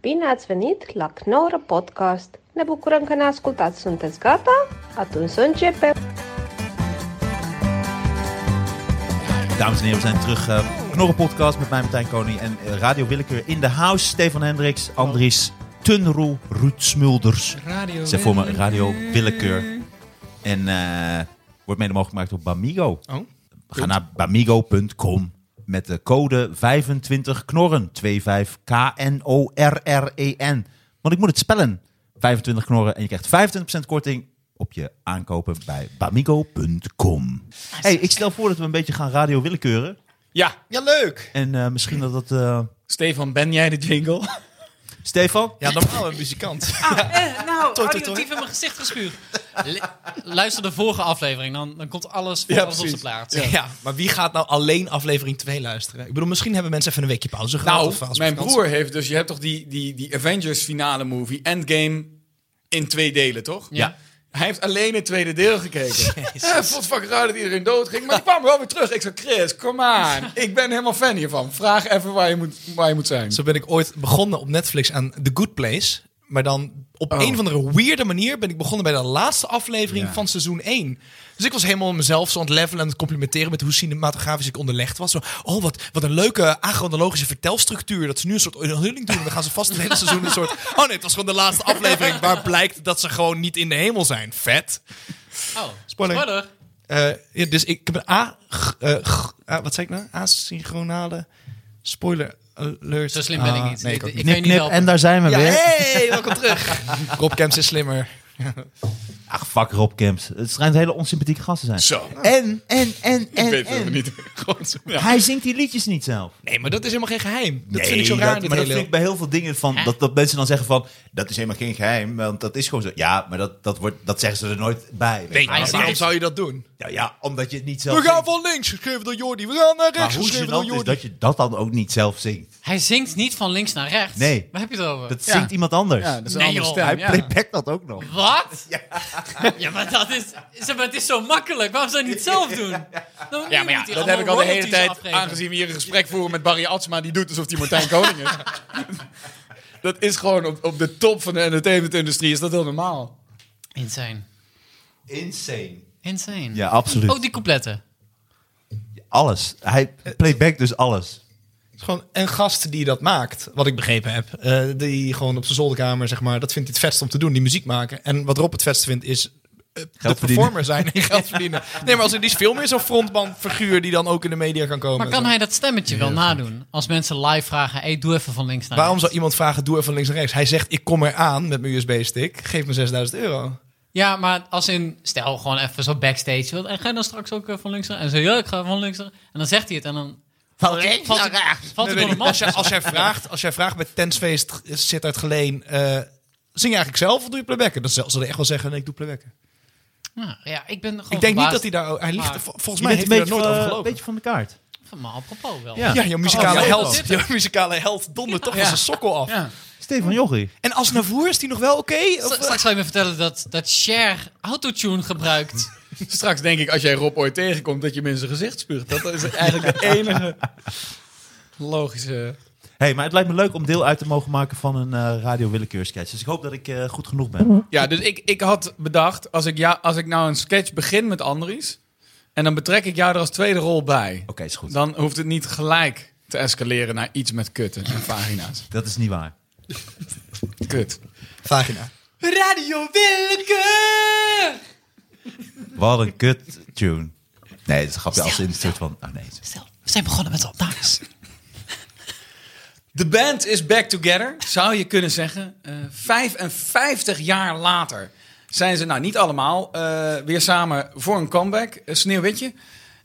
Bine ați venit la Knorr Podcast! Ne bucurăm că ne ascultați! Sunteți gata? Atunci să începem! Dames en heren, we zijn terug. eh Knorren Podcast met mij, Martijn Koning en eh, Radio Willekeur in de house. Stefan Hendricks, Andries Tunroel, Ruud Smulders. Radio. Zij vormen Radio Willekeur. En eh, wordt mede mogelijk gemaakt door Bamigo. Oh. Ga naar bamigo.com met de code 25knorren. 25K-N-O-R-R-E-N. E Want ik moet het spellen. 25 knorren en je krijgt 25% korting op je aankopen bij bamigo.com. Hey, ik stel voor dat we een beetje gaan radio willekeuren. Ah, Ja. Ja, leuk. En eh, misschien dat dat... eh, Stefan, ben jij de jingle? Stefan? Ja, normaal een muzikant. Nou, toi, toi. auditief in mijn gezicht gespuugd. Luister de vorige aflevering, dan, dan komt alles, Ja, alles op zijn precies. plaats. Ja. maar wie gaat nou alleen aflevering 2 luisteren? Ik bedoel, misschien hebben mensen even een weekje pauze gehad. Nou, of als mijn vakantie. broer heeft dus... Je hebt toch die, die, die Avengers finale movie, Endgame, in twee delen, toch? Ja. Hij heeft alleen het tweede deel gekeken. Eh, vond fucking raar dat iedereen dood ging. Maar die kwam wel weer terug. Ik zei, Chris, kom aan. Ik ben helemaal fan hiervan. Vraag even waar je moet, waar je moet zijn. Zo ben ik ooit begonnen op Netflix aan The Good Place. Maar dan op Oh. een of andere weirde manier ben ik begonnen bij de laatste aflevering van seizoen 1. Dus ik was helemaal mezelf zo aan het levelen en het complimenteren met hoe cinematografisch ik onderlegd was. Zo, oh, wat, wat een leuke achronologische vertelstructuur. Dat ze nu een soort onthulling doen. En dan gaan ze vast het hele seizoen een soort... Oh nee, het was gewoon de laatste aflevering waar blijkt dat ze gewoon niet in de hemel zijn. Vet. Oh, Spoiler. spoiler. Eh, ja, dus ik heb een A, g- eh, g- ah, wat zei ik nou? Asynchronale spoiler alert. Zo slim ben ik Ah, niet. nee, ik ook ik niet. kan je niet Knip, knip, helpen. en daar zijn we Ja, weer. hey, welkom terug. Rob Kemps is slimmer. Ach, fuck Rob Kemps. Het schijnt een hele onsympathieke gast te zijn. Zo. En, en, en, en, Dit en. hebben we niet. Gewoon zo. Hij zingt die liedjes niet zelf. Nee, maar dat is helemaal geen geheim. Dat Nee, vind ik zo raar. dat- dit maar dat hele- vind ik bij heel veel dingen van dat, dat mensen dan zeggen van dat is helemaal geen geheim, want dat is gewoon zo. Ja, maar dat, dat, wordt, dat zeggen ze er nooit bij. weet Nee, je wel. hij is- waarom zou je dat doen? ja, ja, omdat je het niet zelf. We gaan zingt. van links, geschreven door Jordi. We gaan naar rechts, maar hoe geschreven door gênant is Jordi. dat je dat dan ook niet zelf zingt? Hij zingt niet van links naar rechts. Nee. Waar heb je het over? Dat Ja. zingt iemand anders. Ja, dat is een Nee, andere joh. stem. hij ja. playback dat ook nog. Wat? Ja. maar dat is, zeg maar, het is zo makkelijk. Waarom zou je het niet zelf doen? Dan Ja, maar ja, moet je dat allemaal heb ik al de hele royalties tijd, afrekenen. aangezien we hier een gesprek voeren met Barry Atsma, die doet alsof hij Martijn Koning is. dat is gewoon op, op de top van de entertainmentindustrie, is dat heel normaal. Insane. Insane. Insane. Ja, absoluut. Oh, Ook die coupletten. Alles. Hij playback dus alles. Het is gewoon een gast die dat maakt, wat ik begrepen heb. Eh, die gewoon op zijn zolderkamer, zeg maar, dat vindt hij het vetst om te doen, die muziek maken. En wat Rob het vetst vindt is eh, de verdienen. performer zijn en geld verdienen. Nee, maar als er die is veel meer zo'n frontmanfiguur die dan ook in de media kan komen. Maar kan hij dat stemmetje wel nadoen? Als mensen live vragen, hey, doe even van links naar Waarom rechts. zou iemand vragen, doe even links en rechts? Hij zegt, ik kom eraan met mijn USB-stick, geef me 6000 euro. Ja, maar als in, stel gewoon even zo backstage. wil- En ga je dan straks ook eh, van links naar En zo, ja, ik ga van links naar En dan zegt hij het en dan... Van links valt, naar rechts. Valt hij Nee, door de weet ik. als, jij, mand. als, jij vraagt, als jij vraagt bij Tensfeest, zit uit Geleen, eh, zing je eigenlijk zelf of doe je playbacken? Dan zal zal hij echt wel zeggen, nee, ik doe playbacken. Nou, ja, ik ben gewoon Ik denk niet verbaasd. dat hij daar... Hij ligt, Maar- vol- volgens Je mij bent heeft hij een daar beetje, nooit van- over een gelopen. beetje van de kaart. Maar apropos wel. Ja. Ja, je muzikale Oh, held. dit- Je muzikale held dondert toch Ja. van zijn sokkel af. Ja. Stefan Jochie. En als Navour is die nog wel oké? Of, eh, Stra- Straks ga je me vertellen dat, dat Cher autotune gebruikt. Straks denk ik, als jij Rob ooit tegenkomt, dat je hem in zijn gezicht spuugt. Dat is eigenlijk de enige logische... Hey, maar het lijkt me leuk om deel uit te mogen maken van een eh, radio willekeursketch. Dus ik hoop dat ik eh, goed genoeg ben. Ja, dus ik, ik had bedacht, als ik, ja, als ik nou een sketch begin met Andries... en dan betrek ik jou er als tweede rol bij... Oké, is goed. dan hoeft het niet gelijk te escaleren naar iets met kutten en vagina's. Dat is niet waar. Kut. Vagina. Radio Willekeur! Wat een kut tune. Nee, dat is een grapje als in het soort van... Oh nee. Stel, we zijn begonnen met de opnames. De band is back together, zou je kunnen zeggen. Eh 55 jaar later zijn ze, nou niet allemaal, eh, weer samen voor een comeback. Eh, Sneeuwwitje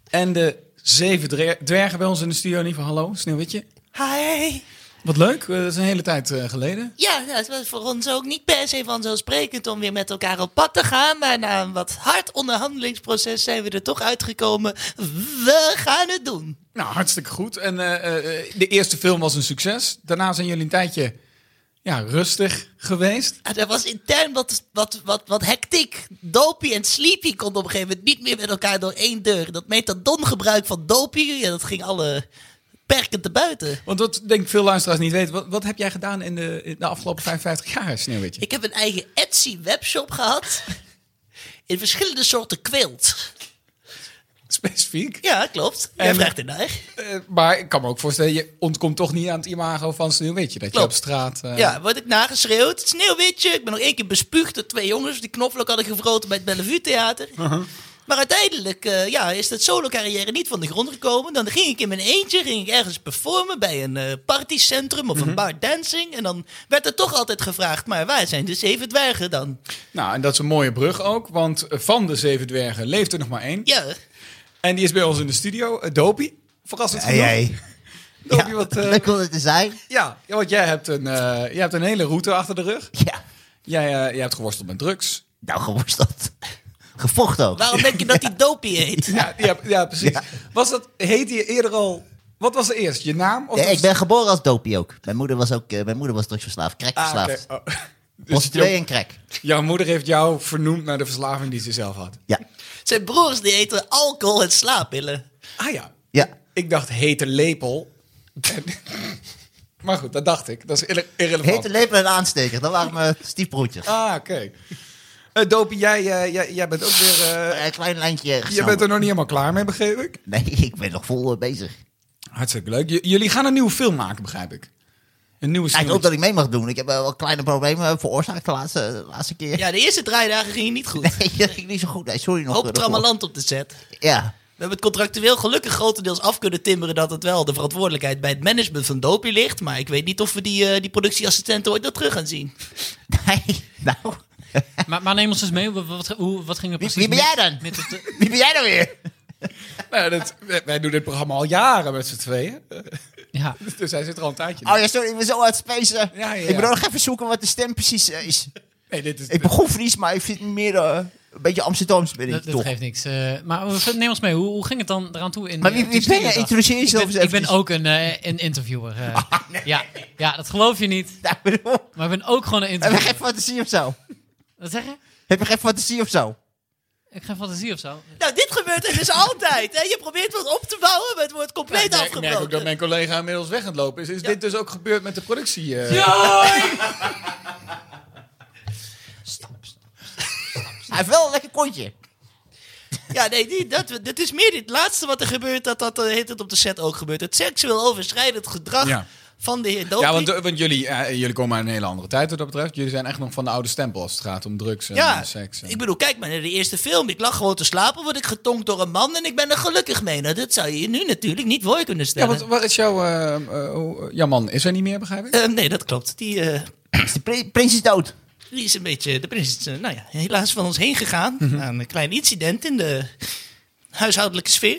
en de zeven dre- dwergen bij ons in de studio. Niet van hallo, Sneeuwwitje. Hi. Wat leuk, eh, dat is een hele tijd eh, geleden. Ja, nou, het was voor ons ook niet per se vanzelfsprekend om weer met elkaar op pad te gaan. Maar na een wat hard onderhandelingsproces zijn we er toch uitgekomen. We gaan het doen. Nou, hartstikke goed. En eh, eh, de eerste film was een succes. Daarna zijn jullie een tijdje ja, rustig geweest. En er Ah, was intern wat, wat, wat, wat hectiek. Dopie en Sleepy konden op een gegeven moment niet meer met elkaar door één deur. Dat metadongebruik van Dopie, ja, dat ging alle beperkend te buiten. Want dat denk ik veel luisteraars niet weten. Wat, wat heb jij gedaan in de, in de afgelopen 55 jaar, Sneeuwwitje? Ik heb een eigen Etsy-webshop gehad. In verschillende soorten kwilt. Specifiek. Ja, klopt. Jij En- vraagt het naar. Eh, maar ik kan me ook voorstellen, je ontkomt toch niet aan het imago van Sneeuwwitje. Dat je Klopt. op straat... eh, Ja, word ik nageschreeuwd. Sneeuwwitje. Ik ben nog één keer bespuugd door twee jongens. Die knoflook hadden gevroten bij het Bellevue Theater. Uh-huh. Maar uiteindelijk eh, ja, is dat solo carrière niet van de grond gekomen. Dan ging ik in mijn eentje ging ik ergens performen bij een eh, partycentrum of Uh-huh. een bar dancing. En dan werd er toch altijd gevraagd, maar waar zijn de zeven dwergen dan? Nou, en dat is een mooie brug ook, want eh, van de zeven dwergen leeft er nog maar één. Ja, En die is bij ons in de studio, eh, Dopey. Verrassend genoeg. Dopey, wat, eh, Leuk om er te zijn. ja, ja, want jij hebt, een, eh, jij hebt een hele route achter de rug. Ja, Jij, eh, jij hebt geworsteld met drugs. nou geworsteld. Gevochten ook. waarom denk je dat die dopie heet? Ja, ja, ja precies. Was dat, heette je eerder al... Wat was er eerst, je naam? Of Ja, was- ik ben geboren als dopie ook. Mijn moeder was ook eh, mijn moeder was drugsverslaafd, Ah, oké. crackverslaafd. Oh. Dus Prostituee jou- en crack. jouw moeder heeft jou vernoemd naar de verslaving die ze zelf had. Ja, Zijn broers die eten alcohol en slaappillen. Ah ja, ja. ik dacht hete lepel. En- maar goed, dat dacht ik. Dat is irre- irrelevant. Hete leven en aansteker, dat waren mijn stiefbroertjes. Oh. Ah, oké. Eh, Dopie, jij, eh, jij, jij bent ook weer... eh, Een klein lijntje je gesnoven. bent er nog niet helemaal klaar mee, begreep ik. Nee, ik ben nog vol eh, bezig. Hartstikke leuk. J- jullie gaan een nieuwe film maken, begrijp ik. Een nieuwe Ja, ik film. hoop dat ik mee mag doen. Ik heb eh, wel kleine problemen veroorzaakt de laatste, de laatste keer. Ja, de eerste draaidagen gingen niet goed. Nee, dat ging niet zo goed. Nee, sorry nog. Hoop eh, daarvoor. trammeland op de set. Ja. We hebben het contractueel gelukkig grotendeels af kunnen timmeren dat het wel de verantwoordelijkheid bij het management van Dopie ligt. Maar ik weet niet of we die, eh, die productieassistenten ooit nog terug gaan zien. Nee, nou. Maar, maar neem ons eens mee, wat, wat, hoe, wat ging er precies wie ben jij mis- dan? met het, eh, Wie ben jij nou weer? Nou, dat- wij- wij doen dit programma al jaren met z'n tweeën. ja. Dus hij zit er al een tijdje. in. Oh ja, sorry, ik ben zo aan het spacen. Ja, ja, Ik ja. moet ook nog even zoeken wat de stem precies eh, is. Nee, dit is, Ik begon Fries, maar ik vind het meer eh, een beetje Amsterdams ben ik Dat, dat toch. geeft niks. eh, maar we- neem ons mee, hoe, hoe ging het dan eraan toe? In, Maar wie, eh, wie die ben je? studiodag? Introduceer Ik jezelf eens ben, ik ben eventjes. Oh, ook een, eh, een interviewer. eh. ja, ja, dat geloof je niet. Nou, bedoel, Maar ik ben ook gewoon een Heb je geen interviewer. fantasie of zo? Wat zeg je? Heb je geen fantasie of zo? Ik geen fantasie of zo. Nou, dit gebeurt er dus altijd. Hè? Je probeert wat op te bouwen, maar het wordt Ja, compleet ik merk- ik merk ook dat afgebroken. mijn collega inmiddels weg aan het lopen is. Is dit dus ook gebeurd met de productie? eh? Hij heeft wel een lekker kontje. Ja, nee, die, dat, dat is meer dit laatste wat er gebeurt, dat dat eh, heet het op de set ook gebeurt. Het seksueel overschrijdend gedrag Ja. van de heer Dopie. Ja, want, eh, want jullie, eh, jullie komen uit een hele andere tijd wat dat betreft. Jullie zijn echt nog van de oude stempel als het gaat om drugs en Ja, eh, seks. en- ik bedoel, kijk maar naar de eerste film. Ik lag gewoon te slapen, word ik getonkt door een man en ik ben er gelukkig mee. Nou, dat zou je je nu natuurlijk niet voor je kunnen Ja, stellen. want waar is jouw... eh, eh, hoe- jouw man is er niet meer, begrijp ik? Eh, nee, dat klopt. Die, eh, Is de pri- prins is dood. Die is een beetje, de prins is eh, nou ja, helaas van ons heen gegaan. Na een klein incident in de huishoudelijke sfeer.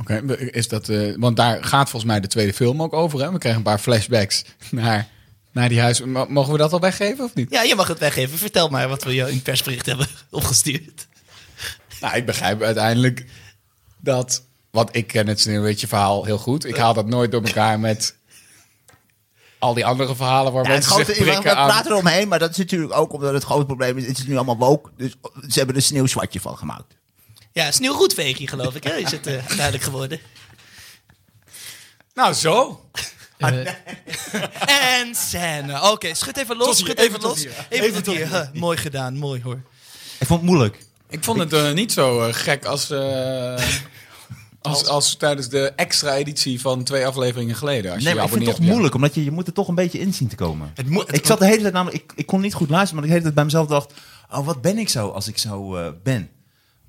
Oké, is dat... eh, want daar gaat volgens mij de tweede film ook over, hè? We kregen een paar flashbacks naar, naar die huis. M- mogen we dat al weggeven of niet? Ja, je mag het weggeven. Vertel maar wat we jou in het persbericht hebben opgestuurd. Nou, ik begrijp uiteindelijk dat... Want ik ken het Sneeuwwitje verhaal heel goed. Ik haal dat nooit door elkaar met... Al die andere verhalen waar Ja, het mensen grote, zich we we prikken aan... praten eromheen, maar dat is natuurlijk ook omdat het grote probleem is. Het is nu allemaal woke, dus ze hebben er sneeuwzwartje van gemaakt. Ja, sneeuwgoedveegje geloof ik, hè? is het eh, duidelijk geworden. Nou, zo. Ah, Eh, En scène. Oké, schud even los, hier, schud even even, tot los. hier. Even, tot hier. Huh, mooi gedaan, mooi hoor. Ik vond het moeilijk. Ik vond het eh, niet zo eh, gek als, eh, als, als tijdens de extra editie van twee afleveringen geleden. Als Nee, je maar ik vind het toch moeilijk, omdat je, je moet er toch een beetje in zien te komen. Het moet- het- ik zat de hele tijd namelijk, ik, ik kon niet goed luisteren, maar ik de hele tijd bij mezelf dacht, oh, wat ben ik zo als ik zo eh, ben?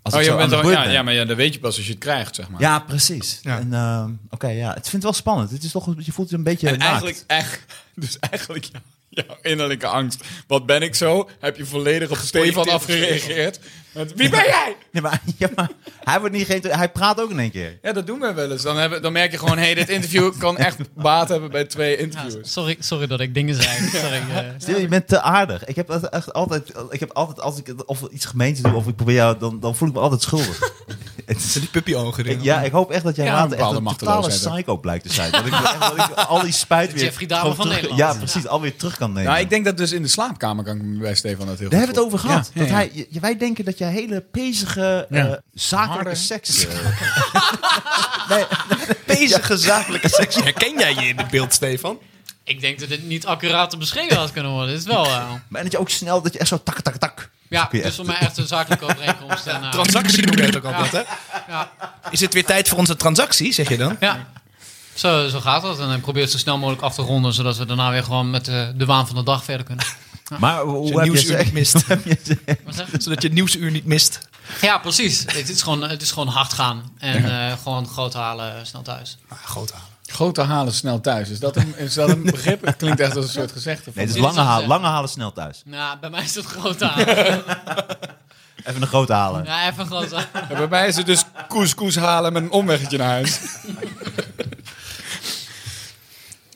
Als Oh, ik je zo bent aan de al, beurt ja, ben. ja, maar ja, dat weet je pas als je het krijgt, zeg maar. Ja, precies. Ja. En, ehm, Oké, ja. Het vindt het wel spannend. Het is toch, je voelt je een beetje en naakt. eigenlijk, echt, dus eigenlijk jou- jouw innerlijke angst. Wat ben ik zo? Heb je volledig op Stefan afgereageerd. Met, Wie ben jij? Nee, maar, ja, maar hij, wordt niet geïnter- hij praat ook in één keer. Ja, dat doen we wel eens. Dan, hebben, dan merk je gewoon, hé, hey, dit interview kan echt baat hebben bij twee interviews. Sorry, sorry dat ik dingen zei. Sorry, eh. Stil, je bent te aardig. Ik heb dat echt altijd, ik heb altijd als ik het- of iets gemeens doe of ik probeer jou, dan, dan voel ik me altijd schuldig. Het- Zijn die puppyogen erin? Ik- ja, ik hoop echt dat jij Ja, een later echt bepaalde een totale machteloosheid, hè? psycho blijkt te zijn. Dat ik, echt, dat ik al die spijt weer... Jeffrey Dahmer gewoon van terug- Nederland. Ja, precies. Alweer terug kan nemen. Nou, ik denk dat dus in de slaapkamer kan ik me bij Stefan dat heel Daar goed hebben we het over voorstellen. gehad. Ja, dat ja, ja. Hij, je- wij denken dat jij hele pezige, eh Ja. zakelijke Harde. seks... eh, nee, pezige zakelijke seks. Herken jij je in het beeld, Stefan? Ik denk dat dit niet accuraat beschreven had kunnen worden. Het is wel... eh, Maar dat je ook snel, dat je echt zo tak, tak, tak. ja, kun je dus echt- voor mij echt een zakelijke overeenkomst. En, eh, Transactie noem je het ook altijd, hè? ja, Is het weer tijd voor onze transactie, zeg je dan? ja. Zo, zo gaat dat. En dan probeer je het zo snel mogelijk af te ronden, zodat we daarna weer gewoon met eh, de waan van de dag verder kunnen. Maar hoe- hoe Zodat je heb nieuwsuur je niet seks? mist. Wat zeg je? Zodat je het nieuwsuur niet mist. Ja, precies. Het is gewoon, het is gewoon hard gaan. En eh, gewoon groot halen, eh, snel thuis. Nou, groot halen. Grote halen snel thuis. Is dat een, is dat een begrip? Het klinkt echt als een soort gezegde. Nee, van- het Dit is is lange, het, halen, eh, lange halen snel thuis. Nou, bij mij is het groot halen. Even een grote halen. Ja, even groot halen. Ja, bij mij is het dus couscous halen met een omweggetje naar huis.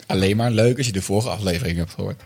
Alleen maar leuk als je de vorige aflevering hebt gehoord.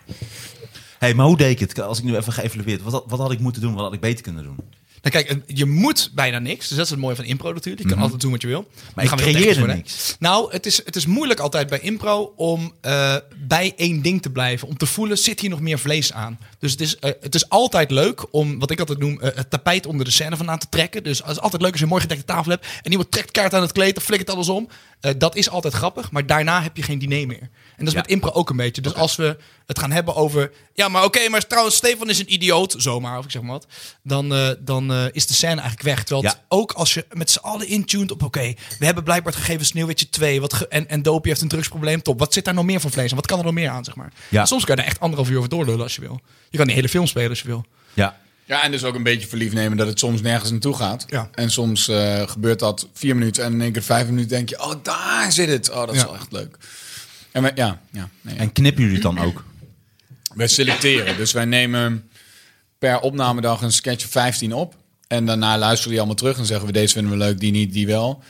hey, maar hoe deed ik het? Als ik nu even geëvalueerd, wat, had- wat had ik moeten doen? Wat had ik beter kunnen doen? Nou kijk, eh, je moet bijna niks. Dus dat is het mooie van impro natuurlijk. Je kan altijd doen wat je wil. Maar Dan ik gaan we heel creëerde technisch worden. niks. Nou, het is, het is moeilijk altijd bij impro om eh, bij één ding te blijven. Om te voelen, zit hier nog meer vlees aan? Dus het is, eh, het is altijd leuk om, wat ik altijd noem, eh, het tapijt onder de scène vandaan te trekken. Dus het is altijd leuk als je een mooi gedekte tafel hebt. En iemand trekt kaart aan het kleed, dan flikkert alles om. Eh, dat is altijd grappig, maar daarna heb je geen diner meer. En dat is Ja. met impro ook een beetje. Dus als we het gaan hebben over... Ja, maar oké, maar trouwens, Stefan is een idioot. Zomaar, of ik zeg maar wat. Dan, eh, dan eh, is de scène eigenlijk weg. Terwijl het Ja. ook als je met z'n allen intuned op... Oké, we hebben blijkbaar het gegeven Sneeuwwitje 2. Wat ge- en, en Dopie heeft een drugsprobleem. Top. Wat zit daar nog meer van vlees aan? Wat kan er nog meer aan, zeg maar? Ja. Soms kan je daar echt anderhalf uur over doorlullen als je wil. Je kan de hele film spelen als je wil. Ja, Ja, en dus ook een beetje verliefd nemen dat het soms nergens naartoe gaat. Ja. En soms eh, gebeurt dat vier minuten en in één keer vijf minuten denk je... Oh, daar zit het. Oh, dat is Ja. wel echt leuk. En wij, ja, ja, nee, ja. en knippen jullie het dan ook? Wij selecteren. Dus wij nemen per opnamedag een sketch of 15 op. En daarna luisteren die allemaal terug en zeggen we deze vinden we leuk, die niet, die wel.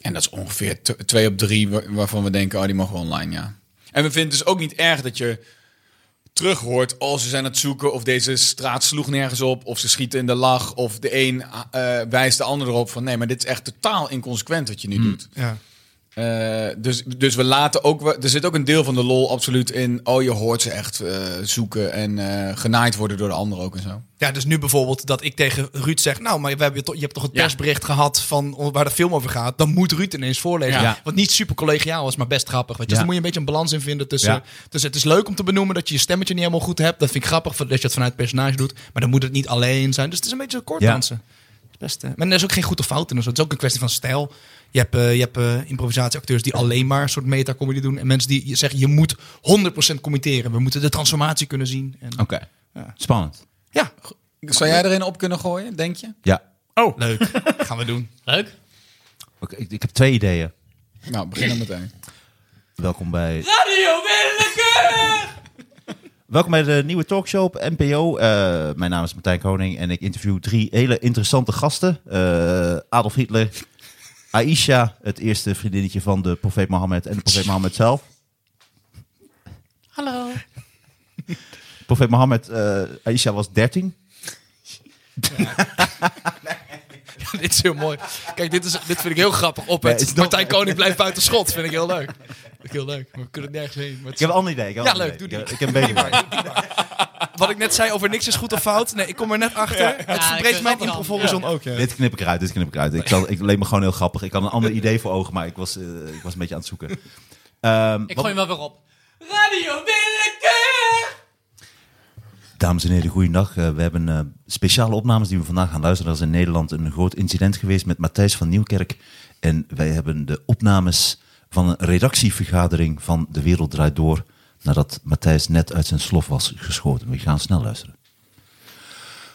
En dat is ongeveer t- twee op drie wa- waarvan we denken, oh die mogen we online, ja. En we vinden het dus ook niet erg dat je terug hoort, oh ze zijn aan het zoeken of deze straat sloeg nergens op. Of ze schieten in de lach of de een eh, wijst de ander erop van nee, maar dit is echt totaal inconsequent wat je nu doet. Ja. Eh, dus, dus we laten ook. we- Er zit ook een deel van de lol absoluut in. Oh, je hoort ze echt eh, zoeken en eh, genaaid worden door de ander ook en zo. Ja, dus nu bijvoorbeeld dat ik tegen Ruud zeg... nou, maar we hebben toch, je hebt toch het Ja. persbericht gehad van waar de film over gaat. Dan moet Ruud ineens voorlezen. Ja. Wat niet super collegiaal is, maar best grappig. Weet je. Dus Ja. dan moet je een beetje een balans in vinden tussen... Ja. Dus het is leuk om te benoemen dat je je stemmetje niet helemaal goed hebt. Dat vind ik grappig dat je het vanuit het personage doet. Maar dan moet het niet alleen zijn. Dus het is een beetje zo kort Ja. dansen. Best, eh, maar er is ook geen goed of fout in. of zo. Het is ook een kwestie van stijl. Je hebt, eh, je hebt eh, improvisatieacteurs die alleen maar een soort metacomedy doen. En mensen die zeggen, je moet 100% committeren. We moeten de transformatie kunnen zien. En, Oké. Spannend. Ja, Zou jij erin op kunnen gooien, denk je? Ja. leuk. Gaan we doen. Leuk. Oké, ik, ik heb twee ideeën. Nou, begin dan meteen. Welkom bij... Radio Willekeur! Welkom bij de nieuwe talkshow op NPO. Eh, mijn naam is Martijn Koning en ik interview drie hele interessante gasten. Eh, Adolf Hitler, Aisha, het eerste vriendinnetje van de profeet Mohammed en de profeet Mohammed zelf. Hallo. Profeet Mohammed, eh Aisha was 13. dit is heel mooi. Kijk, dit, is, dit vind ik heel grappig. Op het Nee, is dat- Martijn Koning blijft buiten schot. Vind ik heel leuk. Vind ik heel leuk. Maar We kunnen nergens heen. maar het Ik is- heb een ander idee. Ik heb een Ja, ander leuk, idee. doe Ik, die. ik heb een beter idee. Wat ik net zei over niks is goed of fout. Nee, ik kom er net achter. het Ja, ik eh, verbreedt mijn snap het al. improvisation ook. Ja. Dit knip ik eruit, dit knip ik eruit. Ik, zal, ik leek me gewoon heel grappig. Ik had een ander idee voor ogen, maar ik was, eh, ik was een beetje aan het zoeken. Ehm, Ik wat- gooi hem wel weer op. Radio Willekeur! Dames en heren, goeiedag. Eh, we hebben eh, speciale opnames die we vandaag gaan luisteren. Er is in Nederland een groot incident geweest met Matthijs van Nieuwkerk. En wij hebben de opnames van een redactievergadering van De Wereld Draait Door... nadat Matthijs net uit zijn slof was geschoten. We gaan snel luisteren.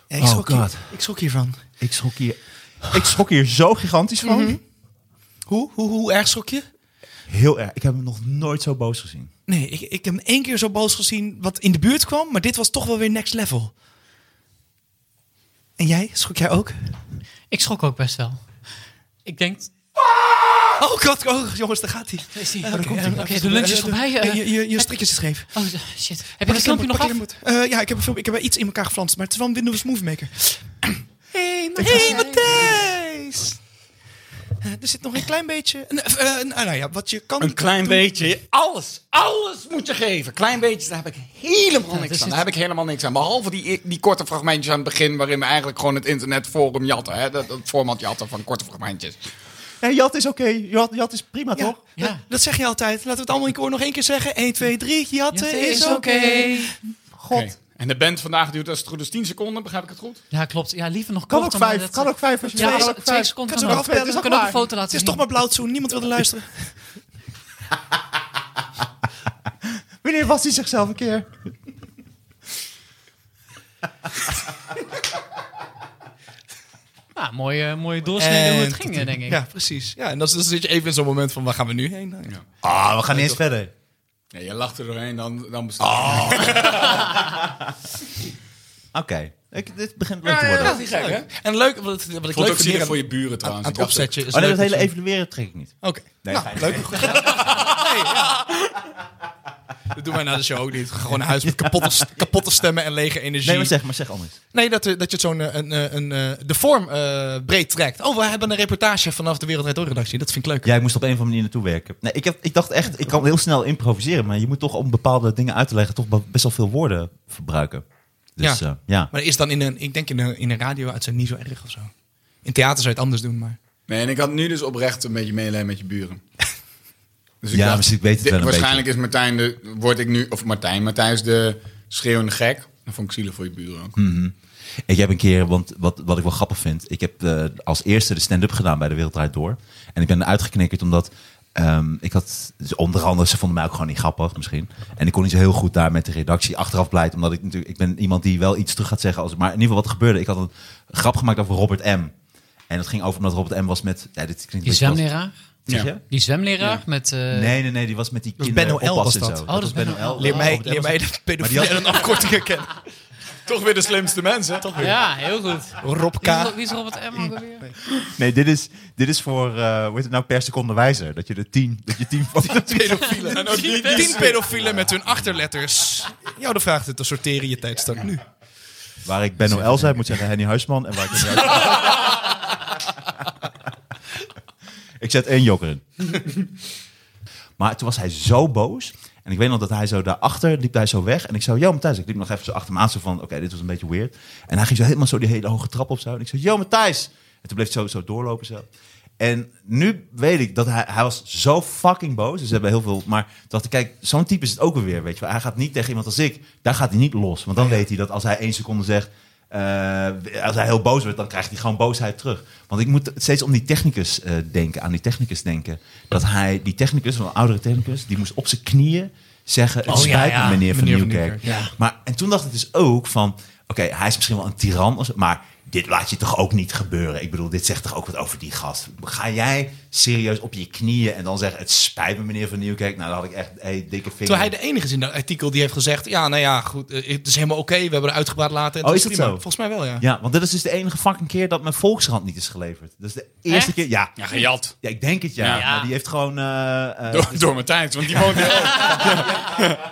Ja, ik, Oh, schrok hier- God. ik schrok hiervan. Ik schrok hier, ik schrok hier zo gigantisch van. Hoe, hoe, hoe erg schrok je? Heel erg. Ik heb hem nog nooit zo boos gezien. Nee, ik, ik heb hem één keer zo boos gezien wat in de buurt kwam. Maar dit was toch wel weer next level. En jij? Schrok jij ook? Ik schrok ook best wel. Ik denk... Oh god, oh, jongens, daar gaat hij. Is die- Eh, Oké, daar komt hij. oké, de lunch is voorbij. eh. je, je, je strikjes is scheef. Oh, shit. Heb je dat filmpje nog af? Eh, ja, ik heb, een film, ik heb wel iets in elkaar geflanst, maar het is wel een Windows Movie Maker. Hey, Hé, hey, Matthijs! eh, er zit nog een klein beetje... Een, eh, een- nou ja, wat je kan... Een klein beetje. Alles. Alles moet je geven. Klein beetje, daar heb ik helemaal dat niks is aan. het. Daar heb ik helemaal niks aan. Behalve die, die korte fragmentjes aan het begin... waarin we eigenlijk gewoon het internetforum jatten. Hè? Dat, dat format jatten van korte fragmentjes. Nee, Jat is oké. Jat, Jat is prima, Ja, toch? dat- dat zeg je altijd. Laten we het allemaal in koor nog één keer zeggen. 1, 2, 3, jatten eh, is oké. God. Oké. En de band vandaag duurt als het goed is 10 seconden. Begrijp ik het goed? Ja, klopt. Ja, liever nog Kan ook korter, maar vijf. dat- Kan ook vijf. Als je Ja, wil, als- kan twee ook vijf. seconden Kan ze kan ook ook. afbellen? We Is ook kunnen ook een waar. foto laten Het is zien. toch maar blauwtsoen. Niemand wilde luisteren. Wanneer was hij zichzelf een keer? Ja, mooie, mooie doorsnede hoe het En- ging, eh, denk ik. Ja, precies. Ja, en dan, dan zit je even in zo'n moment van waar gaan we nu heen? Nou, ja. Ah, we gaan eerst verder. Nee, je lacht er doorheen, dan, dan bestaat Oké. Ik- Dit begint leuk te worden. Oh, is gek, hè? En leuk, wat, wat ik Vond leuk het ook zielig vind voor voor je je buren aan trouwens. het Ik dacht opzetje is Oh nee, leuk dat hele je- evalueren trek ik niet. Oké. Nee, Nou, fijn. leuk. Nee, ja. Dat doen wij na de show ook niet. Gewoon een huis met kapotte, kapotte stemmen en lege energie. Nee, maar zeg, maar zeg anders. Nee, dat, eh, dat je het zo'n eh, een, eh, een, eh, de vorm eh, breed trekt. Oh, we hebben een reportage vanaf de Wereldwijd Door redactie. Dat vind ik leuk. Jij moest op een of andere manier naartoe werken. Nee, ik, heb, ik dacht echt, ik kan heel snel improviseren, maar je moet toch om bepaalde dingen uit te leggen, toch be- best wel veel woorden verbruiken. Dus Ja. ja, ja. Maar is dan in een, ik denk in een, in een radio-uitzending niet zo erg of zo. In theater zou je het anders doen, maar... Nee, en ik had nu dus oprecht een beetje medelijden met je buren. Dus Ja, misschien ik weet het dit- wel een Waarschijnlijk is Martijn de, word ik nu, of Martijn, Matthijs de schreeuwende gek. Dan vond ik zielig voor je buren Hm. ook. Ik heb een keer, want wat, wat ik wel grappig vind, ik heb eh, als eerste de stand-up gedaan bij de Wereldrijd Door. En ik ben uitgeknikkerd omdat ehm, ik had, dus onder andere, ze vonden mij ook gewoon niet grappig misschien. En ik kon niet zo heel goed daar met de redactie achteraf blijven, omdat ik natuurlijk, ik ben iemand die wel iets terug gaat zeggen. Als, maar in ieder geval wat gebeurde, ik had een grap gemaakt over Robert M. En dat ging over omdat Robert M. was met, ja, dit klinkt Die een beetje vast- zwemleraar. Zeg je? Ja. Die zwemleraar met... eh, Nee, nee, nee, die was met die Dat is kinderen Benno L oppassen was en dat. zo. Oh, dat is Benno L. Leer mij, Robert leer was- mij de pedofiel Maar die en een afkorting kennen. Toch weer de slimste mensen. Toch weer. Ja, heel goed. Rob Wie is, K. wie is Robert M. ook alweer? Nee, dit is, dit is voor, eh hoe heet het nou, per seconde wijzer. Dat je de tien, dat je tien van Pedofielen. Nou, En ook die- die- Tien pedofielen met hun achterletters. Jou de vraag te sorteren je tijdstap nu. Waar ik Benno L zei, moet zeggen Henny Huisman. En waar ik, hem juist- ik zet één joker in. Maar toen was hij zo boos. En ik weet nog dat hij zo daarachter liep hij zo weg. En ik zo, yo Matthijs. Ik liep nog even zo achter me aan. Zo van, oké, dit was een beetje weird. En hij ging zo helemaal zo die hele hoge trap op zo. En ik zo, yo Matthijs. En toen bleef hij zo, zo doorlopen zo. En nu weet ik dat hij, hij was zo fucking boos. Dus ze hebben heel veel... Maar toen dacht ik, kijk, zo'n type is het ook weer, weet je wel. Hij gaat niet tegen iemand als ik. Daar gaat hij niet los. Want dan weet hij dat als hij één seconde zegt... eh, als hij heel boos wordt, dan krijgt hij gewoon boosheid terug. Want ik moet steeds om die technicus eh, denken, aan die technicus denken. Dat hij, die technicus, een oudere technicus, die moest op zijn knieën zeggen: Het Oh, ja, spijt me, ja. meneer van Meneer van Nieuwkerk. Nieuwkerk, Maar, en toen dacht ik dus ook van... Oké, hij is misschien wel een tiran, of zo, maar dit laat je toch ook niet gebeuren? Ik bedoel, dit zegt toch ook wat over die gast? Ga jij serieus op je knieën en dan zeggen... Het spijt me, meneer van Nieuwkerk. Nou, dan had ik echt hey, dikke vinger. Terwijl hij de enige is in dat artikel die heeft gezegd... Ja, nou ja, goed, eh, het is helemaal oké. we hebben er uitgebaat laten. en Oh, het is dat prima. zo? Volgens mij wel, ja. Ja, want dit is dus de enige fucking keer dat mijn Volkskrant niet is geleverd. Dat is de eerste Echt? keer... Ja, Ja, gejat. ja, ik denk het, ja. Ja. Maar die heeft gewoon... eh, eh, Door, door Matthijs, want die woont heel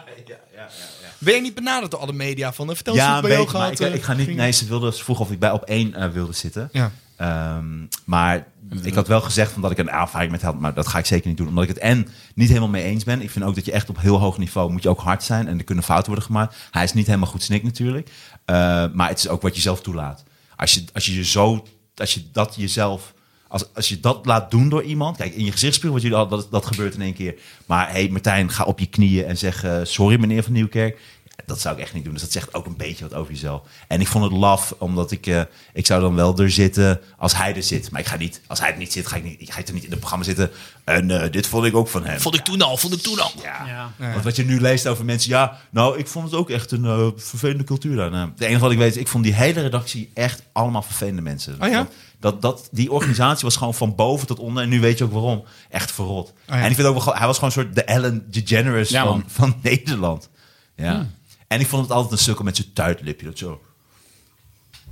Ben je niet benaderd door alle media? Van, eh, vertel eens ja, hoe het een bij jou beetje, maar gehad. ik, eh, ik ga niet... ging. Nee, ze, wilde, ze vroeg of ik bij op één eh, wilde zitten. Ja. Ehm, maar ik had wel gezegd van dat ik een aanvaring met had, maar dat ga ik zeker niet doen. Omdat ik het en niet helemaal mee eens ben. Ik vind ook dat je echt op heel hoog niveau moet je ook hard zijn. En er kunnen fouten worden gemaakt. Hij is niet helemaal goed snik natuurlijk. Eh, maar het is ook wat je zelf toelaat. Als je, als je je zo, als je dat jezelf, als, als je dat laat doen door iemand. Kijk, in je gezichtsspiegel, wat jullie al, dat, dat gebeurt in één keer. Maar hé hey, Martijn, ga op je knieën en zeg eh, sorry meneer van Nieuwkerk. Dat zou ik echt niet doen. Dus dat zegt ook een beetje wat over jezelf. En ik vond het laf, omdat ik... eh, ik zou dan wel er zitten als hij er zit. Maar ik ga niet... Als hij er niet zit, ga ik, niet, ik ga er niet in het programma zitten. En eh, dit vond ik ook van hem. Vond ik toen al, vond ik toen al. ja. Ja. Want wat je nu leest over mensen... Ja, nou, ik vond het ook echt een eh, vervelende cultuur daar. Nou, het enige wat ik weet is... Ik vond die hele redactie echt allemaal vervelende mensen. Oh ja? Want Dat, dat, die organisatie was gewoon van boven tot onder. En nu weet je ook waarom. Echt verrot. Oh ja. En ik vind ook wel... gewoon- Hij was gewoon een soort de Ellen DeGeneres Ja, van, man. van Nederland. Ja. Hm. En ik vond het altijd een sukkel met zijn tuitlipje. Dat zo.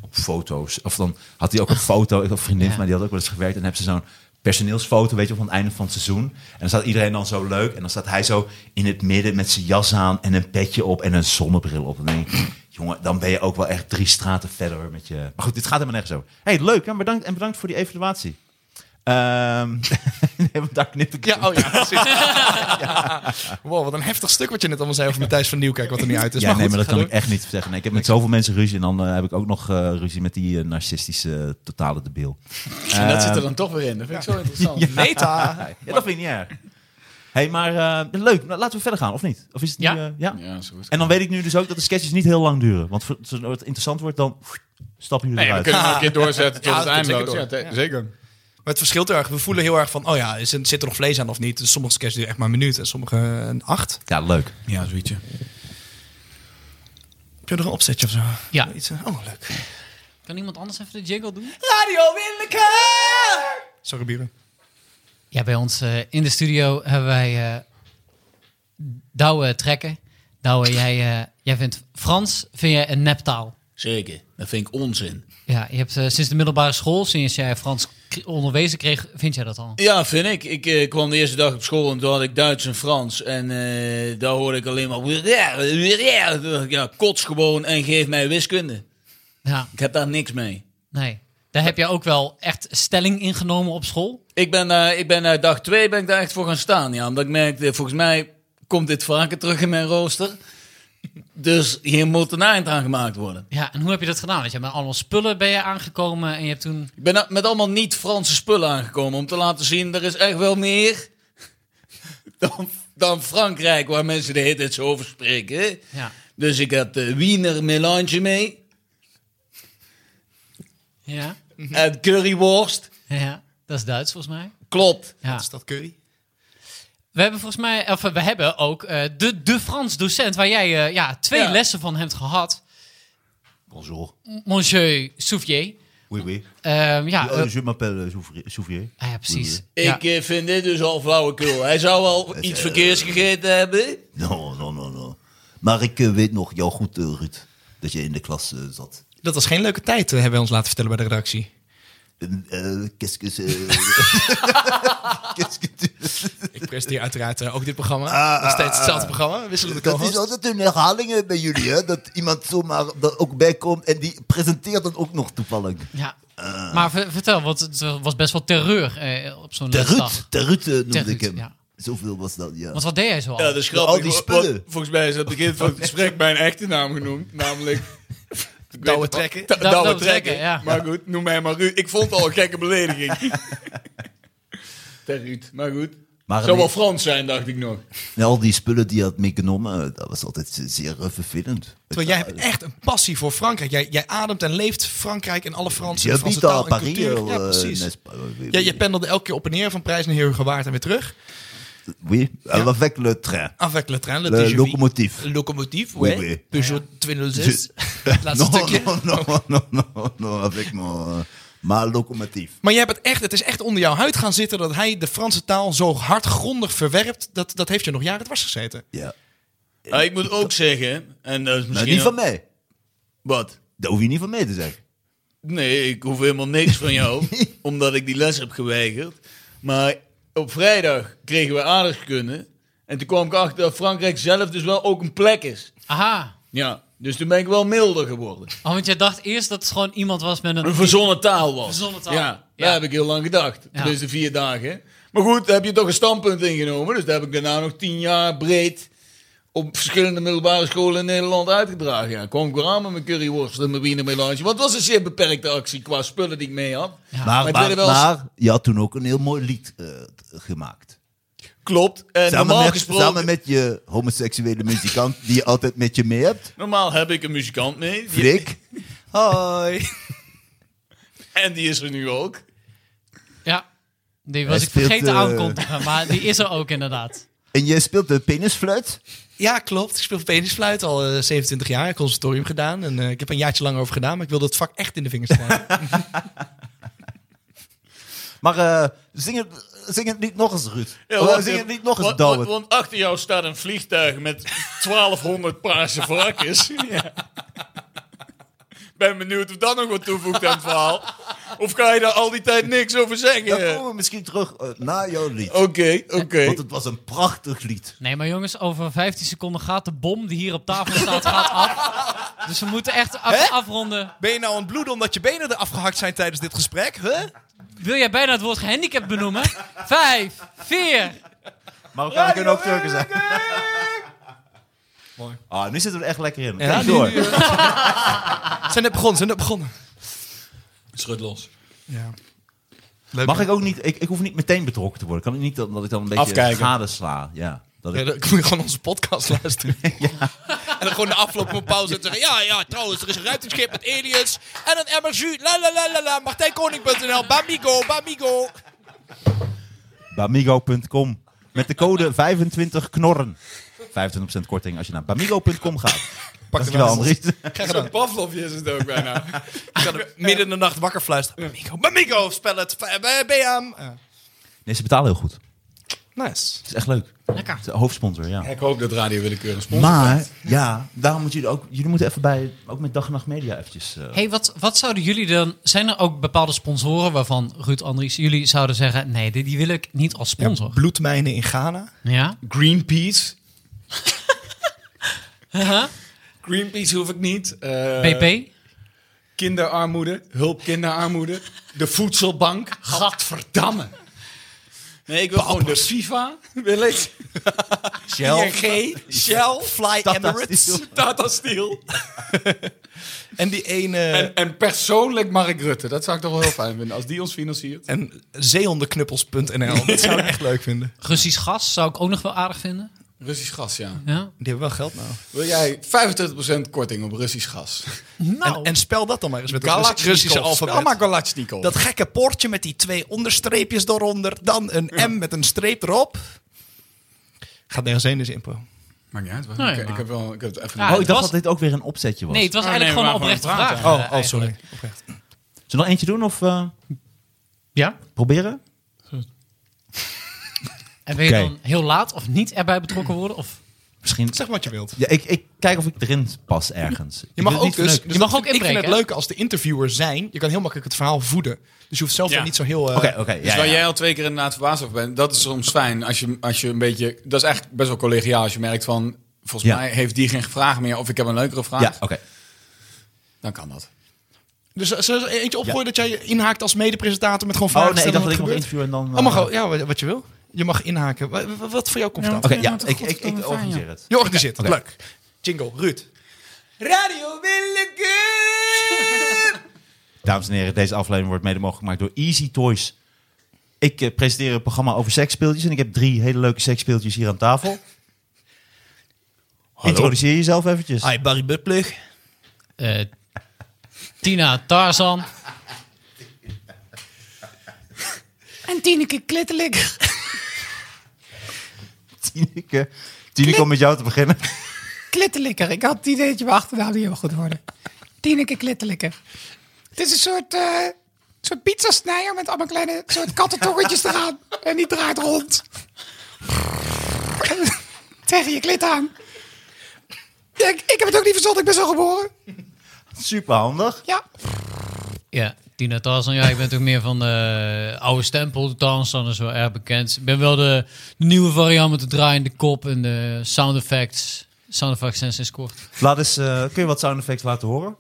Op foto's. Of dan had hij ook een foto. Ik had een vriendin van mij die had ook wel eens gewerkt. En dan hebben ze zo'n personeelsfoto, weet je, van het einde van het seizoen. En dan staat iedereen dan zo leuk. En dan staat hij zo in het midden met zijn jas aan en een petje op en een zonnebril op. En dan denk ik, jongen, dan ben je ook wel echt drie straten verder hoor, met je... Maar goed, dit gaat helemaal nergens over. hey, leuk. Ja, bedankt, en bedankt voor die evaluatie. Ehm, nee, want daar knip ik Ja, oh ja, precies. Ja. Wow, wat een heftig stuk wat je net allemaal zei over Matthijs van Nieuwkerk, wat er niet uit is. ja, nee, goed, maar dat ga kan door. ik echt niet zeggen. Nee, ik heb met zoveel mensen ruzie en dan eh, heb ik ook nog eh, ruzie met die eh, narcistische eh, totale debiel. En dat zit er dan toch weer in. Dat vind ik zo interessant. Meta! ja, dat vind ik niet erg. hey, maar eh, leuk. Nou, laten we verder gaan, of niet? Of is het nu, Ja. eh, ja? Ja, zo is het. En dan weet ik nu dus ook dat de sketches niet heel lang duren. Want voor- zodra het interessant wordt, dan stappen jullie Nee, we eruit. kunnen hem een keer doorzetten tot Ja, het dat komt einde. zeker Ja, door. te- zeker. Maar het verschilt erg. We voelen heel erg van, oh ja, is, er- zit er nog vlees aan of niet? Dus sommige sketches duren echt maar een minuut en sommige een acht. Ja, leuk. Ja, zoiets. Heb je er een opzetje of zo? Ja. Iets, eh, oh, leuk. Kan iemand anders even de jiggle doen? Sorry, buren. Ja, bij ons eh, in de studio hebben wij eh Douwe trekken. Douwe, jij, eh, jij vindt Frans vind je een neptaal. Zeker, dat vind ik onzin. Ja, je hebt eh, sinds de middelbare school, sinds jij Frans k- onderwezen kreeg, vind jij dat al? Ja, vind ik. Ik eh, kwam de eerste dag op school en toen had ik Duits en Frans. En eh, daar hoorde ik alleen maar... Toen dacht ik, Ja, kots gewoon en geef mij wiskunde. Ja, Ik heb daar niks mee. nee. Daar heb jij ook wel echt stelling ingenomen op school. Ik ben, eh, ik ben eh, dag twee ben ik daar echt voor gaan staan. Ja, omdat ik merkte, volgens mij komt dit vaker terug in mijn rooster. Dus hier moet een eind aan gemaakt worden. Ja, en hoe heb je dat gedaan? Want je hebt met allemaal spullen ben je aangekomen en je hebt toen... Ik ben a- met allemaal niet-Franse spullen aangekomen om te laten zien... er is echt wel meer dan, dan Frankrijk, waar mensen de hele tijd zo over spreken. hè. Ja, Dus ik had de Wiener Melange mee. ja, En curryworst. ja. dat is Duits volgens mij. Klopt. Ja. Is dat curry? We hebben volgens mij, of we hebben ook eh, de, de Frans docent, waar jij eh, ja, twee Ja. lessen van hebt gehad. Bonjour. Monsieur Souvier. Oui, oui. Ehm, Ah, ja, eh, je m'appelle eh, Souvrier- Souvrier. ah ja, precies. Ja. Ik eh, vind dit dus al flauwekul. Hij zou al iets verkeers gegeten hebben. Non, non, non, non. Maar ik eh, weet nog jou goed, eh, Ruud, dat je in de klas eh, zat. Dat was geen leuke tijd, eh, hebben we ons laten vertellen bij de redactie. eh, Qu'est-ce que Ik presenteer uiteraard eh, ook dit programma. Nog steeds hetzelfde programma. Wisselende Dat is co-host. altijd een herhaling bij jullie, hè? Dat iemand zomaar er ook bij komt en die presenteert dan ook nog toevallig. Ja. Ah. Maar ver- vertel, want het eh, was best wel terreur eh, op zo'n dag. Terut, Terut eh, noemde Terut, ik hem. ja. Zoveel was dat, ja. Want wat deed jij zo al? Ja, dus- dat is Door grappig. al die want- spullen. want Volgens mij is aan het begin van het gesprek mijn echte naam genoemd. Namelijk... Douwe trekken. Da- Douwe Douwe trekken, trekken. ja. Maar goed, noem mij maar Ruud. Ik vond het al een gekke belediging. Ter Ruud, maar goed. Maar Zou wel die- Frans zijn, dacht ik nog. en al die spullen die hij had meegenomen, eh, dat was altijd ze- zeer eh, vervelend. Terwijl jij hebt echt een passie voor Frankrijk. Jij, jij ademt en leeft Frankrijk en alle Franse, Je Franse biedt taal al en Paris. cultuur. eh, Ja, precies. nes- eh, Ja, je pendelde elke keer op en neer van Prijs naar Heerhugowaard en weer terug. Oui, avec le train. Avec le train, le, Le TGV. locomotief. Locomotief, Oui, ouais. oui. Peugeot 206. Het laatste Non, stukje. non, non, non, non, non, avec mon, eh, ma locomotief. Maar jij hebt het, echt, het is echt onder jouw huid gaan zitten dat hij de Franse taal zo hardgrondig verwerpt. Dat, dat heeft je nog jaren het was gezeten. Ja. Ah, ik moet ook zeggen, en dat is Nou, misschien... niet van ook- mij. Wat? Dat hoef je niet van mij te zeggen. Nee, ik hoef helemaal niks van jou, omdat ik die les heb geweigerd. Maar op vrijdag kregen we aardrijkskunde. En toen kwam ik achter dat Frankrijk zelf dus wel ook een plek is. Aha. Ja, dus toen ben ik wel milder geworden. Oh, want jij dacht eerst dat het gewoon iemand was met Een een... verzonnen taal was. Verzonnen taal. Ja, daar Ja. heb ik heel lang gedacht. Ja. Dus de vier dagen. Maar goed, daar heb je toch een standpunt ingenomen. Dus daar heb ik daarna nog tien jaar breed op verschillende middelbare scholen in Nederland uitgedragen. Ja, kwam ik weer aan met mijn curryworst en mijn wiener melange. Want het was een zeer beperkte actie qua spullen die ik mee had. Maar, ik maar, wilde wel eens- maar je had toen ook een heel mooi lied eh, t- gemaakt. Klopt. En Samen normaal met, gesproken... samen met je homoseksuele muzikant die je altijd met je mee hebt. Normaal heb ik een muzikant mee. Die- Frik. Hoi. En die is er nu ook. Ja, die was Hij ik vergeten speelt, eh, aankondigen, maar die is er ook inderdaad. En jij speelt de penisfluit. Ja, klopt. Ik speel penisfluit al eh, 27 jaar. Conservatorium gedaan. En eh, ik heb er een jaartje lang over gedaan, maar ik wilde het vak echt in de vingers slaan. Maar eh, zing, het, zing het niet nog eens, Ruud. Ja, Oh, wacht zing even. het niet nog eens, want, want, Douwe. want achter jou staat een vliegtuig met 1200 paarse varkens. Ja. Ben benieuwd of dat nog wat toevoegt aan het verhaal. Of ga je daar al die tijd niks over zeggen? Dan Oké, komen we misschien terug eh, na jouw lied. oké. Want het was een prachtig lied. Nee, maar jongens, over 15 seconden gaat de bom die hier op tafel staat gaat af. Dus we moeten echt af- afronden. Ben je nou aan het bloeden omdat je benen er afgehakt zijn tijdens dit gesprek? Huh? wil jij bijna het woord gehandicapt benoemen? Vijf, vier. Marokkanen kunnen ook Turken zijn. Mooi. Ah, nu zitten we er echt lekker in. Ja, Kijk nu- door. nu, eh, zijn net begonnen, zijn net begonnen. Schud los. Ja. Leuk, Mag hè? ik ook niet, ik, ik hoef niet meteen betrokken te worden. Kan ik niet dat, dat ik dan een beetje Afkijken. schade sla. Ja, dat ik, Ja, dan moet je gewoon onze podcast luisteren. En dan gewoon de afloop van pauze en zeggen... Ja, ja, trouwens, er is een ruimteschip met aliens en een emmer jus. La, la, la, la, la, martijnkoning.nl, bamigo, bamigo. Bamigo.com. Met de code 25 knorren. 25% korting als je naar bamigo.com gaat. Pak Dankjewel, Andries. Zo'n Pavlovje is het ook bijna. Ik ga er midden in de nacht wakker fluisteren. Bamigo, Bamigo, spel het. B- B- BAM. Eh, Nee, ze betalen heel goed. Het Nice. is echt leuk. Lekker. Het is hoofdsponsor, ja. Ik hoop dat Radio Willekeurig sponsor Maar, ja, daarom moeten jullie ook... Jullie moeten even bij, ook met Dag en Nacht Media eventjes... eh, hey, wat, wat zouden jullie dan... Zijn er ook bepaalde sponsoren waarvan Ruud Andries... jullie zouden zeggen, nee, die, die wil ik niet als sponsor. Bloedmijnen in Ghana. Ja? Greenpeace. Huh? Greenpeace hoef ik niet. Eh, PP? Kinderarmoede, hulp kinderarmoede. De voedselbank, gadverdamme. Nee, ik wil gewoon de FIFA, wil ik. ING, Shell, Fly Tata Emirates. Steel. Tata Steel. En die ene... En, en persoonlijk Mark Rutte. Dat zou ik toch wel heel fijn vinden, als die ons financiert. En zeehondenknuppels.nl. Dat zou ik echt leuk vinden. Russisch gas zou ik ook nog wel aardig vinden. Russisch gas, ja. Ja? Die hebben wel geld nou. Wil jij 25% korting op Russisch gas? Nou, En, en spel dat dan maar eens met het Rus- Russische alfabet. Spel maar Galachnikov. Dat gekke poortje met die twee onderstreepjes eronder. Dan een M met een streep erop. Gaat nergens heen, dus info. Maakt niet uit. wacht, Nee, ik, maar- ik heb wel, ik heb het even... Ah, oh, ik het dacht was- dat dit ook weer een opzetje was. nee, het was Oh, eigenlijk nee, we gewoon een waren oprechte gewoon aan het vraag. eh, praten. eigenlijk. Oprecht. Zullen we nog eentje doen of eh, Ja? proberen? En wil je Oké. dan heel laat of niet erbij betrokken worden? Of... Misschien... Zeg wat je wilt. Ja, ik, ik kijk of ik erin pas ergens. Ik Je mag wil ook niet dus, verneuken. dus Je mag dat- ook Ik vind inbreken, het hè? leuk als de interviewer zijn. Je kan heel makkelijk het verhaal voeden. Dus je hoeft zelf Ja. dan niet zo heel... eh, Oké, oké. ja, Dus waar ja. jij al twee keer inderdaad verbaasd over bent, dat is soms fijn als je, als je een beetje... Dat is eigenlijk best wel collegiaal als je merkt van... Volgens Ja. mij heeft die geen vraag meer of ik heb een leukere vraag. Ja, oké. Dan kan dat. Dus eh, zullen we er eentje opgooien dat jij inhaakt als medepresentator met gewoon vragen Oh nee, ik dacht stellen dat ik wat er nog interview en dan... gebeurt? Oh, eh, mag ook. Ja, wat, wat je wil. Je mag inhaken. Wat, wat- wat voor jou komt Oké, dat? ja, ik, ik, ik organiseer het. Je organiseert het. Oké. Leuk. Jingle, Ruud. Radio Willekeur! Dames en heren, deze aflevering wordt mede mogelijk gemaakt door Easy Toys. Ik eh, presenteer een programma over seksspeeltjes en ik heb drie hele leuke seksspeeltjes hier aan tafel. Introduceer jezelf eventjes. Hi, Barry Buttplug. Eh, Tina Tarzan. en Tineke Klitterlik. Tineke, Tineke om met jou te beginnen. Klitterlikker. Ik had het idee dat je mijn achternaam niet helemaal goed hoorde. Tineke Klitterlikker. Het is een soort, eh soort pizzasnijder met allemaal kleine soort kattentongetjes eraan. En die draait rond. Tegen je klit aan. Ja, ik, ik heb het ook niet verzonnen, ik ben zo geboren. Super handig. Ja, Ja, Tina Tarzan. Ja, ik ben toch meer van de oude stempel. Tarzan is wel erg bekend. Ik ben wel de, de nieuwe variant met de draaiende kop en de sound effects. Sound effects zijn sinds kort. Laat eens, eh, kun je wat sound effects laten horen?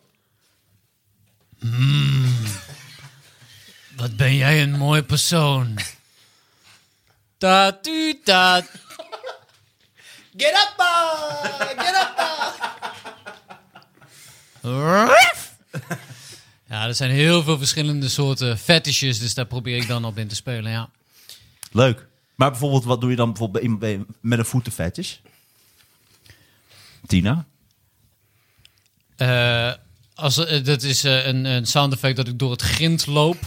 Wat ben jij een mooie persoon. Tatu ta. Get up, man! Get up, man! Ja, er zijn heel veel verschillende soorten fetishes, dus daar probeer ik dan op in te spelen, ja. Leuk. Maar bijvoorbeeld, wat doe je dan bijvoorbeeld bij, iemand bij- met een voetenfetish? Tina? Eh, als, eh, dat is eh, een, een sound effect dat ik door het grind loop.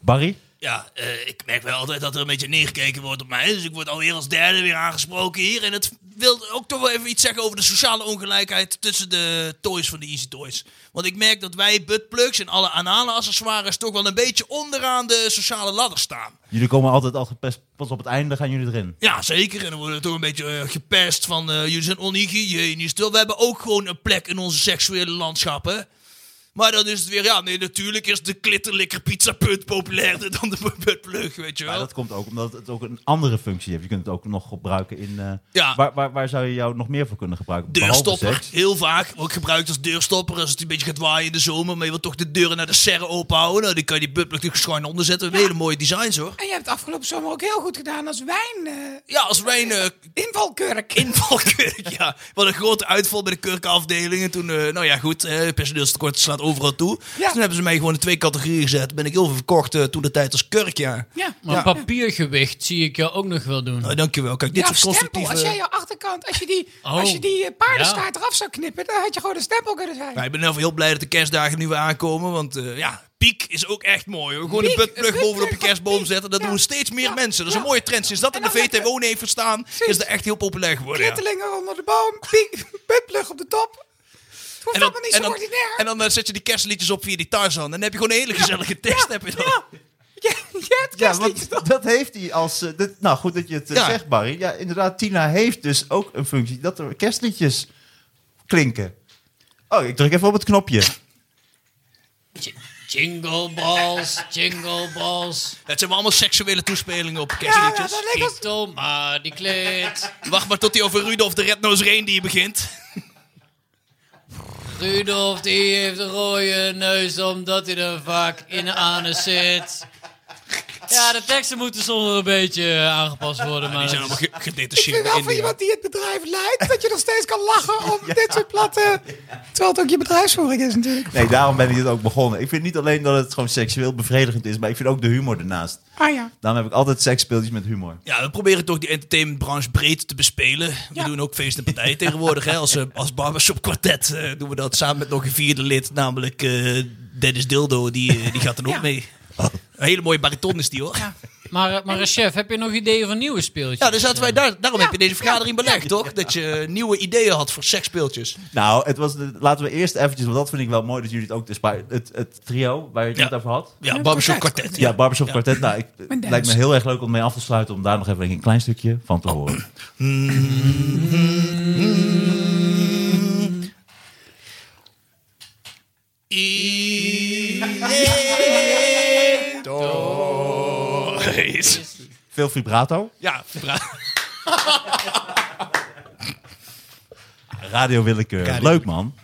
Barry? Ja, eh, ik merk wel altijd dat er een beetje neergekeken wordt op mij. Dus ik word alweer als derde weer aangesproken hier. En het wil ook toch wel even iets zeggen over de sociale ongelijkheid tussen de toys van de Easy Toys. Want ik merk dat wij buttplugs en alle anale accessoires toch wel een beetje onderaan de sociale ladder staan. Jullie komen altijd, altijd pas, pas op het einde gaan jullie erin. Ja, zeker. En dan worden we toch een beetje eh, gepest van eh, jullie zijn onhygiënisch. Terwijl we hebben ook gewoon een plek in onze seksuele landschappen. Maar dan is het weer, ja, nee, natuurlijk is de klitterlikker pizza punt populairder dan de buttplug, weet je wel. Maar dat komt ook omdat het ook een andere functie heeft. Je kunt het ook nog gebruiken in... eh, Ja. waar, waar, waar zou je jou nog meer voor kunnen gebruiken? Behalve Deurstopper, seks. heel vaak. Wordt gebruikt als deurstopper als het een beetje gaat waaien in de zomer. Maar je wilt toch de deuren naar de serre openhouden. Nou, dan kan je die butt natuurlijk schuin onderzetten. Hele mooie designs hoor. En je hebt het afgelopen zomer ook heel goed gedaan als wijn. eh Ja, als wij een eh, invalkurk. invalkurk, ja. Wat een grote uitval bij de kurkenafdeling. En toen, eh, nou ja, goed, eh personeelstekort slaat overal toe. Dus toen hebben ze mij gewoon in twee categorieën gezet. Ben ik heel veel verkocht eh, toen de tijd als kurk, ja. Ja. Maar papiergewicht zie ik jou ook nog wel doen. Nou, dankjewel. Kijk, dit Ja, of soort stempel. constructieve... Als jij je achterkant, als je die, Oh, als je die eh, paardenstaart eraf zou knippen, dan had je gewoon een stempel kunnen zijn. Nou, ik ben in ieder geval heel blij dat de kerstdagen nu weer aankomen. Want eh, ja, piek is ook echt mooi. Hoor. Gewoon Piek, een buttplug een bovenop je buttplug van kerstboom Piek. zetten. Dat Ja. doen steeds meer Ja. mensen. Dat is een Ja. mooie trend. Sinds dat in En de dan lekker- VTWO heeft verstaan, is Precies. dat echt heel populair geworden. ja. Klittelingen onder de boom, piek, buttplug op de top. Het hoeft En dan, allemaal niet en zo dan, ordinair. en dan eh, zet je die kerstliedjes op via die Tarzan. En dan heb je gewoon een hele gezellige tekst. heb je dan. ja. Je, je hebt Ja, kerstliedjes toch? want dat heeft hij als... eh, dit- nou, goed dat je het eh, Ja. zegt, Barry. Ja, inderdaad, Tina heeft dus ook een functie dat er kerstliedjes klinken. Oh, ik druk even op het knopje. J- Jingle balls, jingle balls. Het zijn wel allemaal seksuele toespelingen op Ja, ja, kerstliedjes. dat leek als... Kito maar die kleed. Wacht maar tot hij over Rudolf de Red-Nosed Reindeer begint. Rudolf die heeft een rode neus omdat hij er vaak in de anus zit. Ja, de teksten moeten soms wel een beetje eh, aangepast worden. Nou, Maar Die zijn dat allemaal is- ge- Ik vind gedetacheerd. wel in van die- iemand die het bedrijf leidt, dat je nog steeds kan lachen om dit soort platte... Terwijl het ook je bedrijfsvoering is natuurlijk. Nee, daarom ben ik het ook begonnen. Ik vind niet alleen dat het gewoon seksueel bevredigend is, maar ik vind ook de humor ernaast. Ah ja. Daarom heb ik altijd seksspeeltjes met humor. Ja, we proberen toch die entertainmentbranche breed te bespelen. We doen ook feesten en partijen tegenwoordig. Hè? Als, eh, als barbershop kwartet eh, doen we dat samen met nog een vierde lid, namelijk eh, Dennis Dildo. Die, eh, die gaat er ook mee. Een hele mooie bariton is die hoor. Ja, Maar, eh, maar eh, chef, heb je nog ideeën van nieuwe speeltjes? dus zaten wij daar, daarom heb je deze vergadering belegd, toch? Dat je eh, nieuwe ideeën had voor seksspeeltjes. Nou, het was de- laten we eerst eventjes, want dat vind ik wel mooi dat jullie het ook... Dus, maar het, het trio waar je het Ja. net over had. Ja, barbershop kwartet. Ja, Barbershop Quartet. Nou, ik, het dance. lijkt me heel erg leuk om mee af te sluiten om daar nog even een klein stukje van te horen. Veel vibrato. Ja, bra- Radio Willekeur. Leuk man.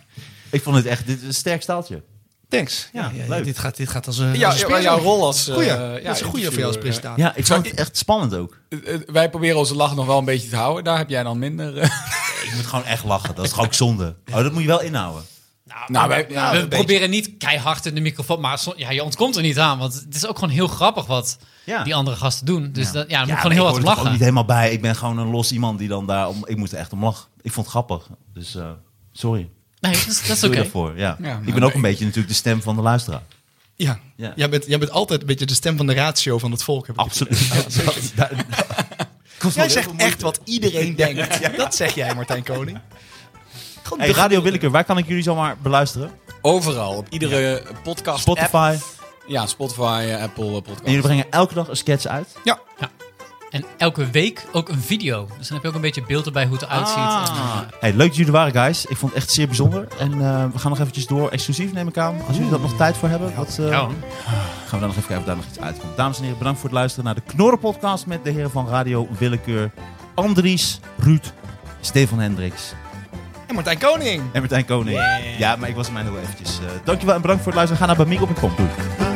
Ik vond het echt dit is een sterk staaltje. Thanks. Ja, Ja, ja, leuk. Dit, gaat, dit gaat als een. Ja, als een ja, jouw rol als... eh, goeie. ja, dat is een goede voor jou als interviewer, presentator. Ja, ik vond het echt spannend ook. eh, eh, Wij proberen onze lach nog wel een beetje te houden. Daar heb jij dan minder... eh, Je moet gewoon echt lachen. Dat is gewoon ook zonde. Oh, dat moet je wel inhouden. nou, wij, we nou, proberen niet keihard in de microfoon, maar som- ja, je ontkomt er niet aan. Want het is ook gewoon heel grappig wat Ja. die andere gasten doen. Dus dat, ja, dan moet ik maar gewoon heel ik hard om hoor er toch ook lachen. niet helemaal bij. Ik ben gewoon een los iemand die dan daar... Om, ik moet er echt om lachen. Ik vond het grappig. Dus eh, sorry. Nee, dat is, dat is Doe oké. je daarvoor. Ja. Ja, ik nou, ben ook nee. een beetje natuurlijk de stem van de luisteraar. Ja. Ja. Jij, bent, jij bent altijd een beetje de stem van de ratio van het volk. heb ik Absoluut. Dat- dat- het idee. Jij zegt echt wat iedereen denkt. Dat zeg jij, Martijn Koning. Gewoon Hey, de- Radio Willekeur, waar kan ik jullie zomaar beluisteren? overal, op iedere eh, podcast app. Spotify. Ja, Spotify, eh, Apple eh, podcast. En jullie brengen elke dag een sketch uit. En elke week ook een video. Dus dan heb je ook een beetje beeld erbij hoe het eruit ziet. Ah. En- eh, Hey, leuk dat jullie er waren, guys. Ik vond het echt zeer bijzonder. En eh, we gaan nog eventjes door. Exclusief neem ik aan. Als jullie dat nog tijd voor hebben. Wat, eh, Ja, hoor. gaan we dan nog even kijken of daar nog iets uitkomt. Dames en heren, bedankt voor het luisteren naar de Knorren podcast met de heren van Radio Willekeur. Andries, Ruud, Stefan Hendricks En Martijn Koning. en Martijn Koning. Ja, maar ik was hem heel eventjes. Eh, dankjewel en bedankt voor het luisteren. Ga naar bamigo.com. Doei. Bye.